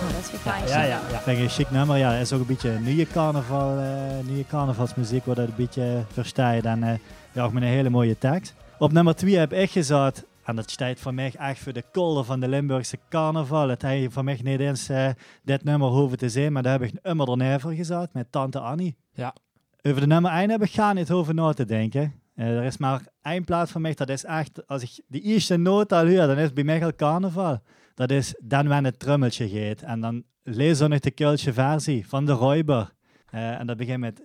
C: ja, dat is weer fijn.
D: Ja, ja, ja.
B: Vind ik een chic nummer. Ja, dat is ook een beetje een nieuwe, carnaval, eh, nieuwe carnavalsmuziek, wordt dat een beetje verstaat. En eh, ja, ook met een hele mooie tekst. Op nummer twee heb ik gezet, en dat staat voor mij echt voor de kolder van de Limburgse carnaval. Het hij voor mij niet eens eh, dit nummer hoeven te zijn, maar daar heb ik een nummer ernaar voor gezet met Tante Annie.
D: Ja.
B: Over de nummer 1 heb ik gaan niet over na te denken. Eh, er is maar één plaats voor mij, dat is echt, als ik die eerste noot al hoor, dan is het bij mij al carnaval. Dat is Dan Wen het Trummeltje Geet. En dan lees nog de Keultje versie van de Räuber. Eh, en dat begint met...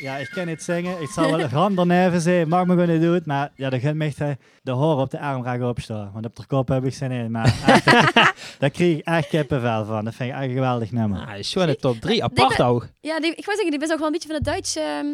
B: Ja, ik kan niet zingen. Ik zal wel een gram erneven zijn. Mag me gewoon niet doen. Maar ja, dan gaat me echt eh, de horen op de arm raak opstaan. Want op de kop heb ik zin in. Maar echt, daar krijg ik echt kippenvel van. Dat vind ik echt een geweldig nummer.
D: Ah, is gewoon de top drie.
C: Dit
D: Apart
C: ben-
D: ook.
C: Ja, die, ik wou zeggen, die bent ook wel een beetje van het Duitse... ehm,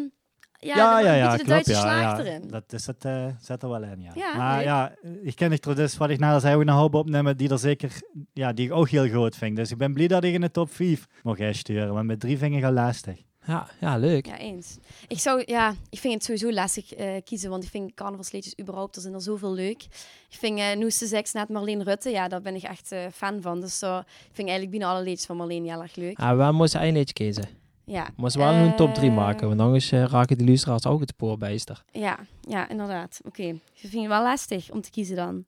C: ja,
B: ja, ja,
C: een
B: ja,
C: beetje de
B: klopt,
C: Duitse
B: ja,
C: slaag
B: ja.
C: erin.
B: Dat is het, eh, zet er wel in, ja.
C: Ja,
B: maar
C: leuk.
B: ja, ik ken het dus wat ik nader zei, ook een hoop opnemen die er zeker, ja, die ik ook heel groot vind. Dus ik ben blij dat ik in de top 5 mocht jij sturen, want met drie vind ik al lastig.
D: Ja, ja leuk.
C: Ja, eens. Ik zou, ja, ik vind het sowieso lastig eh, kiezen, want ik vind carnavalsliedjes überhaupt, er zijn er zoveel leuk. Ik vind eh Noeste Seks na het Marleen Rutte, ja, daar ben ik echt eh, fan van. Dus zo, ik vind eigenlijk bijna alle liedjes van Marleen heel erg leuk.
D: Ah, we moesten één liedje kiezen.
C: Ja.
D: We moesten wel een top 3
C: Eh,
D: maken, want anders eh, raken de luisteraars ook het spoorbijster.
C: Ja, ja, inderdaad. Oké. Ik vind het wel lastig om te kiezen dan.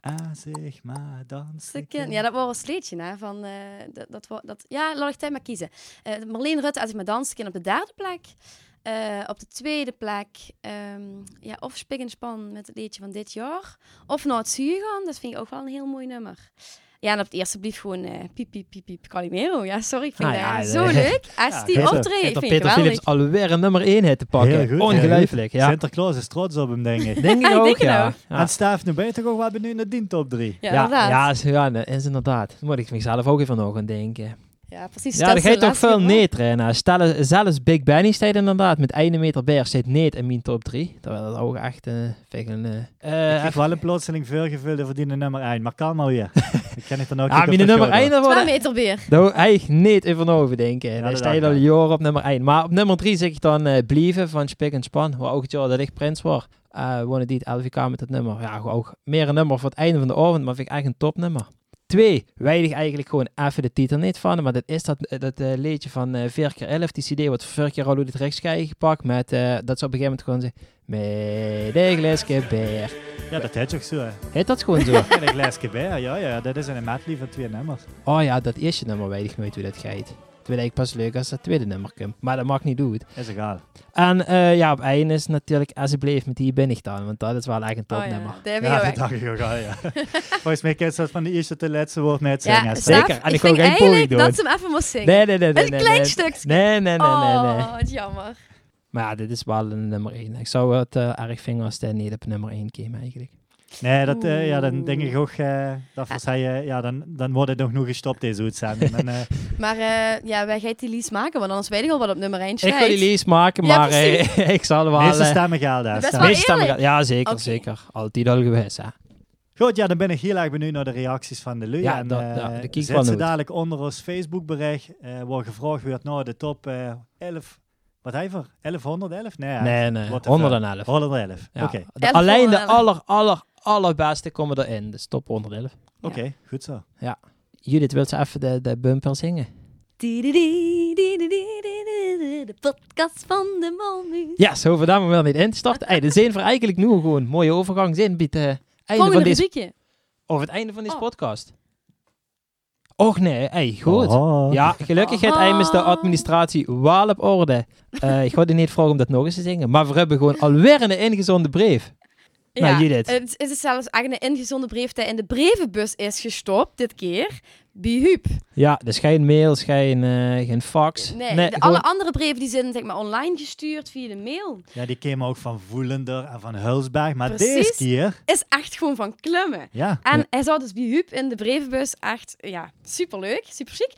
B: Ah, zeg maar, dans ik
C: Stukken. Ja, dat was een sleetje, hè. Van, eh, dat, dat, wo- dat, ja, laat ik tijd maar kiezen. Eh Marleen Rutte, als ik maar dans, kind op de derde plek. Eh, op de tweede plek, ehm, ja, of Spik en Span met het liedje van dit jaar. Of Naar het Zuur gaan, dat vind ik ook wel een heel mooi nummer. Ja, en op het eerste blief gewoon eh, piep, piep, piep, piep, Calimero. Ja, sorry, ik vind
D: Ah,
C: dat
D: ja,
C: zo
D: eh,
C: leuk. Als
B: ja,
C: die
B: Peter-
C: optreden, vind
D: dat
C: ik
D: Peter
C: wel
D: Philips alweer een nummer 1 hit te pakken.
B: Heel goed, heel
D: Ongelooflijk,
B: goed.
D: ja.
B: Sinterklaas is trots op hem, denk ik.
D: Denk ik
C: Ik
D: ook,
C: denk het
D: ja.
C: ook.
D: Ja.
B: En Staaf, nu ben je toch ook wel benieuwd naar die top 3?
C: Ja,
D: ja,
C: inderdaad.
D: ja, is, ja, nee, is inderdaad. Daar moet ik mezelf ook even nog aan denken.
C: Ja, precies.
D: ja,
C: dat
D: dat
C: is de
D: gaat toch
C: laatste
D: veel
C: keer.
D: nee trainen. Stel, zelfs Big Benny staat inderdaad met 1 meter berg staat niet in mijn top 3. Terwijl dat ook echt eh vind ik een... eh,
B: Ik
D: eh,
B: heb wel een plotseling veel gevulde verdiende nummer 1, maar kan maar weer. ik ken het dan ook
D: ja,
B: niet
D: mijn
B: op
D: nummer
B: verschil
D: 1
B: door.
D: daar
C: Twee
D: worden...
C: meter weer.
D: Daar word ik echt niet even over denken. Daar
B: dat
D: sta je
B: dacht
D: al
B: ik.
D: jaren op nummer 1. Maar op nummer 3 zeg ik dan eh Blieven van Spik en Span. Waar ook het jaar dat ik prins was. eh wonen die het LVK met dat nummer. Ja, gewoon ook meer een nummer voor het einde van de avond. Maar vind ik echt een topnummer. Twee, weinig eigenlijk gewoon even de titel niet van. Maar dat is dat, eh, dat eh, liedje van eh 4x11. Die cd wat voor 4 keer al uit het rechtskijken gepakt. Met, eh, dat ze op een gegeven moment gewoon zeggen. Met een glaasje beer.
B: Ja, dat had je ook zo, hè.
D: Heet dat gewoon zo?
B: En een glaasje bij, ja, ja. Dat is een medley van twee nummers.
D: oh ja, dat eerste nummer weet ik nooit hoe dat gaat. Dat weet ik pas leuk als dat tweede nummer komt. Maar dat mag niet doen.
B: Is egal.
D: En eh, ja, op één is natuurlijk Als ik bleef met die ben ik dan, want dat is wel echt een
C: Oh, ja.
D: topnummer.
C: Daar heb
B: Ja,
C: je
B: dat
C: ook.
B: dacht ik ook al, ja. Volgens mij kent ze dat van de eerste tot laatste woord net
C: Ja,
B: zingen. hè,
D: zeker.
B: Stef?
C: Staaf,
D: En
C: ik
D: ik wil
C: vind
D: geen
C: eigenlijk
D: poging
C: dat ze hem even moest zingen.
D: Nee, nee, nee, nee.
C: Een
D: nee,
C: klein
D: nee.
C: stukje.
D: Nee, nee, nee, nee, nee.
C: Oh, wat jammer.
D: Maar ja, dit is wel een nummer één. Ik zou het eh, erg vinden als hij niet op nummer één kwam eigenlijk.
B: Nee, dat, eh, ja, dan denk ik ook, eh, dat was hij, eh, ja, dan, dan wordt het nog nog gestopt, deze uitzending. Dan, eh,
C: Maar eh, ja, wij gaan die lease maken, want anders weet ik al wat op nummer 1 staat.
D: Ik ga die lease maken,
C: Ja,
D: maar eh, ik zal wel...
B: meeste
D: eh,
B: stemmen gaan daar.
C: best
B: staan.
C: wel
D: meeste stemmen
C: eerlijk.
D: gaan- Ja, zeker,
C: Oké.
D: zeker. Altijd al geweest, hè.
C: e-
B: Goed, ja, dan ben ik heel erg benieuwd naar de reacties van de lui.
D: Ja,
B: en,
D: dat-
B: eh,
D: ja, daar kiek
B: zet
D: van
B: ze
D: uit.
B: dadelijk onder ons Facebookbericht. eh wordt gevraagd werd nou de top eh 11, wat hij voor? 1111? Nee, hè?
D: Nee, nee,
B: What the fuck?
D: 111.
B: 111.
D: Ja.
B: Oké,
D: De-
C: Elf
D: alleen de
C: 111.
D: aller, aller, allerbeste komen erin. Dus top 111.
B: oké, goed zo.
D: Judith, wil ze even de, de bumper zingen?
C: Di-di-di, di-di-di-di-di-di, De podcast van de Molmuus.
D: Ja, zo hoeven daar maar wel niet in te starten. Hey, de zin voor eigenlijk nu gewoon. Mooie overgang. Zin biedt eh, einde van
C: Volgende
D: deze,
C: rubriekje.
D: over het einde van deze
C: Oh.
D: podcast. Och nee, hey, goed.
B: Oh.
D: Ja, gelukkig heeft Eimis
C: Oh.
D: de administratie wel op orde. Eh, ik ga die niet vragen om dat nog eens te zingen. Maar we hebben gewoon alweer een ingezonden brief. Nou, Judith.
C: Het is zelfs eigenlijk een ingezonde brief die in de brevenbus is gestopt, dit keer. Bihup.
D: Ja, dus geen mail, geen, eh, geen fax.
C: Nee, de,
D: gewoon-
C: alle andere brieven die zijn zeg maar, online gestuurd via de mail.
B: Ja, die kwamen ook van Voelender en van Hulsberg. Maar
C: Precies.
B: deze keer,
C: Is echt gewoon van klemmen.
B: ja.
C: En hij zou dus Bihup in de brevenbus. Echt, ja, superleuk, super chic.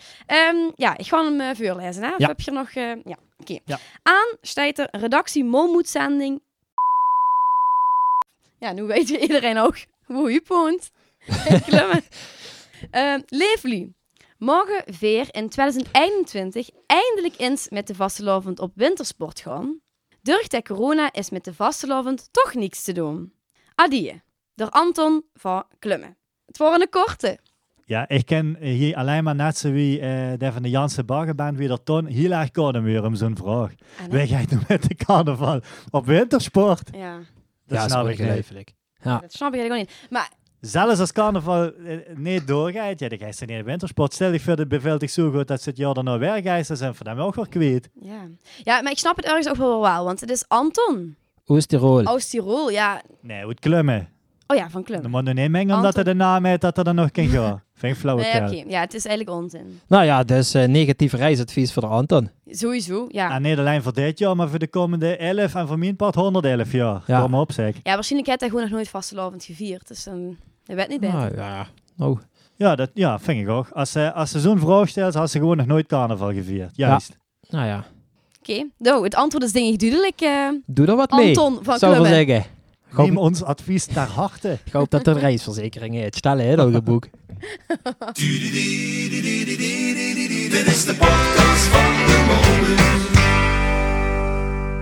C: ja, ik ga hem eh, voorlezen. Hè? Of
D: Ja.
C: heb je nog... eh, ja, oké.
D: Ja.
C: Aan staat er redactie Molmoedzending. Ja, nu weet je iedereen ook hoe u woont. In Klemmen. Eh, Leeflu. Morgen weer in 2021 eindelijk eens met de vastelovend op wintersport gaan. Durft de corona is met de vastelovend toch niks te doen. Adie. Door Anton van Klummen. Het waren een korte.
B: Ja, ik ken eh, hier alleen maar net zo wie eh, daar van de Janse Baggenband weer dat Ton heel erg kon hem weer om zo'n vraag.
C: En-
B: Wij gaan doen met de carnaval op wintersport.
C: Ja,
B: Dat
D: ja,
B: snap
D: is
B: ik niet.
D: ongelooflijk.
C: dat snap ik helemaal niet. Maar
B: Zelfs als carnaval eh, niet doorgaat, ja, dan ga je ze niet op wintersport. Stel ik voor de beveiligd zo goed dat ze het jaar dan nou weer gaan, dan zijn we van hem ook weer kwijt.
C: ja. ja, maar ik snap het ergens ook wel wel, want het is Anton.
D: Oost-Tirol.
C: Oh. Oost-Tirol, ja.
B: Nee, moet klummen.
C: Oh ja, van
B: Dan
C: Klummen.
B: moet je niet mengen omdat hij de naam heeft dat er dan nog kan gaan. Vind ik
C: Nee,
B: flauwekul.
C: oké. Ja, het is eigenlijk onzin.
D: Nou ja, dus eh, negatief reisadvies voor de Anton.
C: Sowieso, ja.
B: En niet alleen voor dit jaar, maar voor de komende 11 en voor mijn part 111 jaar.
D: Ja.
B: Kom op zeg.
C: Ja, waarschijnlijk heeft hij gewoon nog nooit vastelovend gevierd. Dus ehm dat werd niet beter.
D: Nou ja, nou,
B: Ja, dat ja, vind ik ook. Als ze, als ze zo'n vraag stelt, had ze gewoon nog nooit carnaval gevierd. Juist.
D: nou ja,
C: Oké, nou, het antwoord is denk ik duidelijk. eh,
D: doe er wat mee.
C: Anton van
D: zou ik wel
C: Klummen.
D: zeggen. Ik hoop-
B: Neem ons advies ter harte.
D: Ik hoop dat er een reisverzekering is. Stel hè, dat boek.
A: Dit is de podcast van de Molus.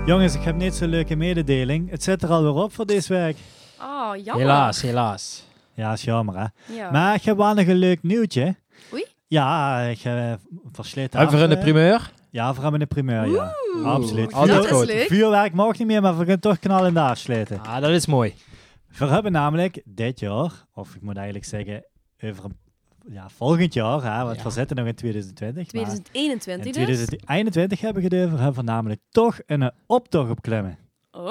B: Jongens, ik heb niet zo'n leuke mededeling. Het zit er alweer op voor deze week.
C: Oh, jammer.
D: Helaas, helaas.
B: Ja, is jammer hè.
C: Ja.
B: Maar ik heb wel nog een leuk nieuwtje.
C: Oei.
B: Ja, ik eh, versleet af,
D: Hebben we een
B: eh,
D: primeur?
B: Ja, voor hem in de primeur, ja. Absoluut.
D: altijd
B: Vuur-
C: dat is
D: goed.
C: leuk.
B: Vuurwerk mag niet meer, maar we kunnen toch knallen in de afsluiten.
D: Ah, dat is mooi.
B: We hebben namelijk dit jaar, of ik moet eigenlijk zeggen, over een- ja, volgend jaar, hè, want
D: Ja.
B: we zitten nog in 2020. maar-
C: 2021
B: In
C: dus.
B: 2021 hebben we gedurven, hebben we namelijk toch een eh, optocht op klemmen.
C: Oh, En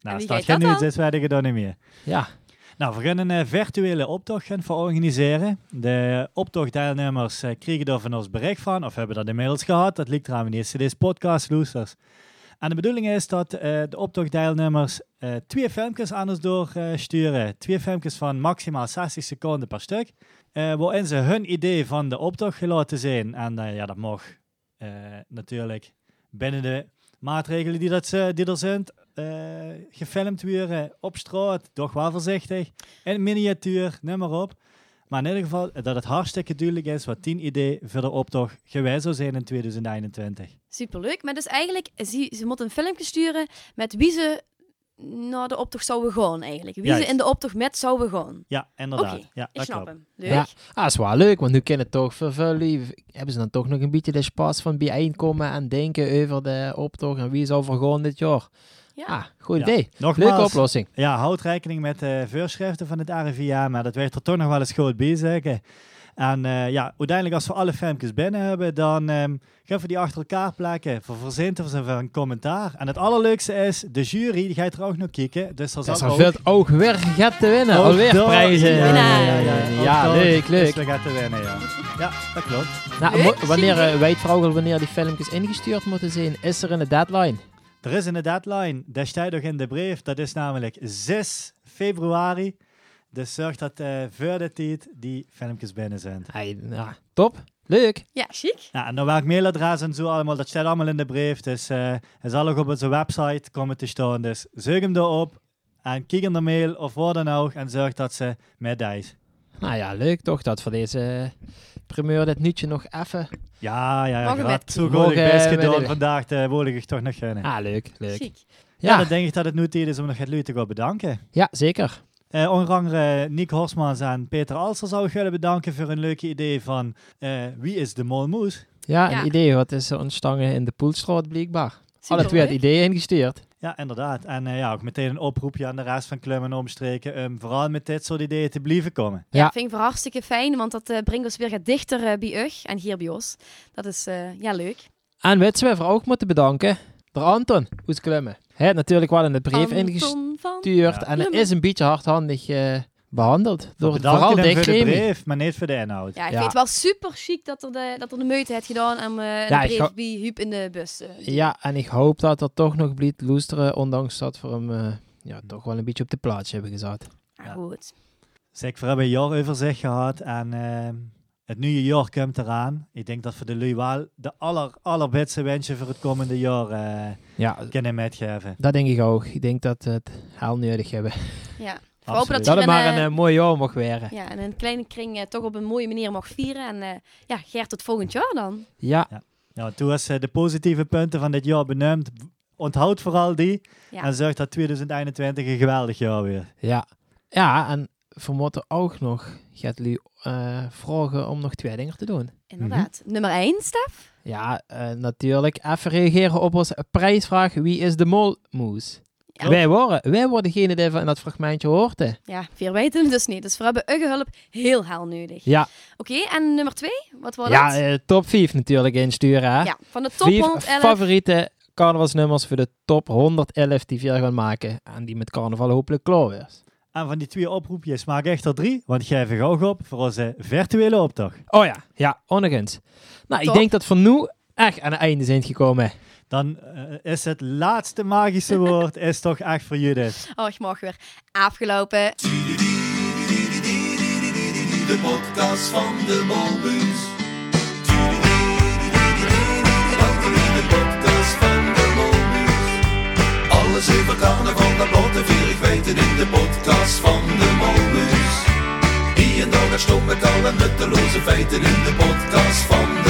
B: Nou,
C: wie
B: staat
C: gaat
B: geen
C: dat
B: nu,
C: dan?
B: dit weet ik het dan niet meer.
D: Ja,
B: Nou, we gaan een eh, virtuele optocht gaan voor organiseren. De optochtdeelnemers eh, kregen daar van ons bericht van, of hebben dat inmiddels gehad. Dat ligt eraan wanneer ze deze podcast luistert. En de bedoeling is dat eh, de optochtdeelnemers eh, twee filmpjes aan ons doorsturen. twee filmpjes van maximaal 60 seconden per stuk. eh, waarin ze hun idee van de optocht gelaten zijn. En eh, ja, dat mag eh, natuurlijk binnen de maatregelen die, dat ze, die er zijn. eh, gefilmd worden op straat, toch wel voorzichtig. In miniatuur, noem maar op. Maar in ieder geval dat het hartstikke duidelijk is wat 10 idee voor de optocht gewijs zou zijn in 2021.
C: superleuk. Maar dus eigenlijk, ze, ze moeten een filmpje sturen met wie ze naar de optocht zouden gaan eigenlijk. Wie
B: Juist.
C: ze in de optocht met zouden gaan.
B: Ja,
C: Oké,
B: inderdaad. ja,
C: ik
B: dat
C: snap
B: klopt.
C: hem. Leuk.
D: ja. Ah, is wel leuk, want nu kennen toch veel, veel lief. Hebben ze dan toch nog een beetje de spas van bijeenkomen en denken over de optocht en wie is al vergaan dit jaar?
C: Ja.
D: Ah, goed
B: Ja.
D: idee.
B: Nogmaals,
D: Leuke oplossing.
B: Ja, houd rekening met de voorschriften van het RIVA, maar dat werd er toch nog wel eens goed bij zeggen. En eh, ja, uiteindelijk als we alle filmpjes binnen hebben, dan ehm gaan we die achter elkaar plakken voor verzinters en voor een commentaar. En het allerleukste is, de jury die gaat er ook nog kijken, dus er
D: Dat is
B: zal
D: al
B: ook...
D: veel oog weer gaat te winnen.
B: ook
D: Nou, Alweer
B: daar-
D: prijzen.
B: Ja, ja, ja, ja,
D: Ja,
B: ook daar
D: leuk,
B: Is
D: leuk.
B: we gaan te winnen, ja. Ja, dat klopt.
D: Nou,
C: Leuk,
D: mo- wanneer
C: zie je.
D: eh, weet vrouw wel wanneer die filmpjes ingestuurd moeten zijn? Is er een deadline?
B: Er is een deadline, daar staat nog in de brief, dat is namelijk 6 februari. Dus zorg dat eh voor de tijd die filmpjes binnen zijn.
D: Hey, nou, top. Leuk.
C: Ja, chic.
B: Ja, en dan werk mailadres en zo allemaal, dat staat allemaal in de brief. Dus eh het zal ook op onze website komen te staan. Dus zoek hem erop en kijk in de mail of waar dan ook en zorg dat ze met deze.
D: Nou ja, leuk toch dat voor deze primeur dit nietje nog even.
B: Ja, ja, ja.
C: Morgen
B: Grad,
C: met-
B: zo goed ik
D: Morgen
B: best
D: met
B: gedaan
D: de-
B: vandaag. De woorden ik toch nog gunnen.
D: Ah, leuk, leuk.
C: Chic.
B: Ja,
D: Ja,
B: dan denk ik dat het nu tijd is om nog het lui te gaan bedanken.
D: ja, zeker.
B: Eh onder andere Nick Horsmans en Peter Alster zou ik willen bedanken voor een leuke idee van eh, Wie is de Molmoes?
D: Ja,
C: Ja.
D: een idee wat is er ontstangen in de Poelstraat blijkbaar. Alle
C: Superleuk.
D: twee het idee ingestuurd.
B: Ja, inderdaad. En eh, ja, ook meteen een oproepje aan de rest van Klum en Omstreken om vooral met dit soort ideeën te blijven komen.
C: Ja,
D: Ja.
C: vind ik voor hartstikke fijn, want dat eh, brengt ons weer gaat dichter eh, bij u en hier bij ons. Dat is eh, ja, leuk.
D: En weten we voor ook moeten bedanken. De Anton, hoe is klemmen? Hij heeft natuurlijk wel in de brief ingestuurd
C: Anton van...
D: en het
C: Klemme.
D: is een beetje hardhandig eh, behandeld. Door
B: Bedankt
D: vooral
B: hem
D: de
B: voor de
D: Gremi.
B: brief, maar niet voor de inhoud.
C: Ja, ik
D: Ja.
C: vind het wel super chic dat er de, dat er de meute heeft gedaan en eh
D: Ja,
C: de
D: ik
C: brief
D: ga-
C: bij Huub in de bus. eh.
D: Ja, en ik hoop dat er toch nog blijft loesteren, ondanks dat we hem eh, ja, toch wel een beetje op de plaats hebben gezet.
C: Maar Ah, goed.
B: Dus ik we hebben een jaaroverzicht gehad en ehm, het nieuwe jaar komt eraan. Ik denk dat we de lui wel de aller, allerbeste wensen voor het komende jaar eh,
D: Ja,
B: kunnen metgeven.
D: dat denk ik ook. Ik denk dat we het heel nodig hebben.
C: Ja. Ik
B: Absoluut.
C: hoop dat
D: Dat,
C: je
D: het maar een
C: een, eh,
D: eh, mooi jaar mag worden. Ja.
C: ja, en een kleine kring eh, toch op een mooie manier mag vieren. En eh, ja, Gert, tot volgend jaar dan.
B: Nou, toen was eh, de positieve punten van dit jaar benoemd. Onthoud vooral die
C: Ja.
B: en zorg dat 2021 een geweldig jaar weer.
D: ja. Ja, en we moeten ook nog, gaat jullie eh, vragen om nog twee dingen te doen.
C: Inderdaad.
D: Mhm.
C: Nummer 1, Stef.
D: Ja, eh, natuurlijk. Even reageren op onze prijsvraag. Wie is de molmoes?
C: Ja.
D: Wij, worden, wij worden degene die van dat fragmentje hoort. hè.
C: Ja, vier weten het dus niet. Dus we hebben uw hulp heel haal nodig.
D: Ja,
C: Oké, en nummer 2? Wat wordt
D: ja
C: het?
D: eh, top 5 natuurlijk insturen. Hè?
C: ja, van de top
D: Vier
C: 111.
D: favoriete carnavalsnummers voor de top 111 die we gaan maken. En die met carnaval hopelijk klaar is.
B: En van die twee oproepjes maak echt er drie, want geef er ook op voor onze virtuele optocht.
D: Oh ja, ja, onnegens. Nou,
C: Top.
D: ik denk dat voor nu echt aan het einde zijn gekomen.
B: Dan eh, is het laatste magische woord is toch echt voor Judith.
C: Oh, ik mag weer. Afgelopen.
A: De podcast van de Molbus. De podcast van de Molbus. Alles even carnaval naar blote vierig weten in de podcast van de Molbus. Hier en daar naar stomme taal en nutteloze feiten in de podcast van de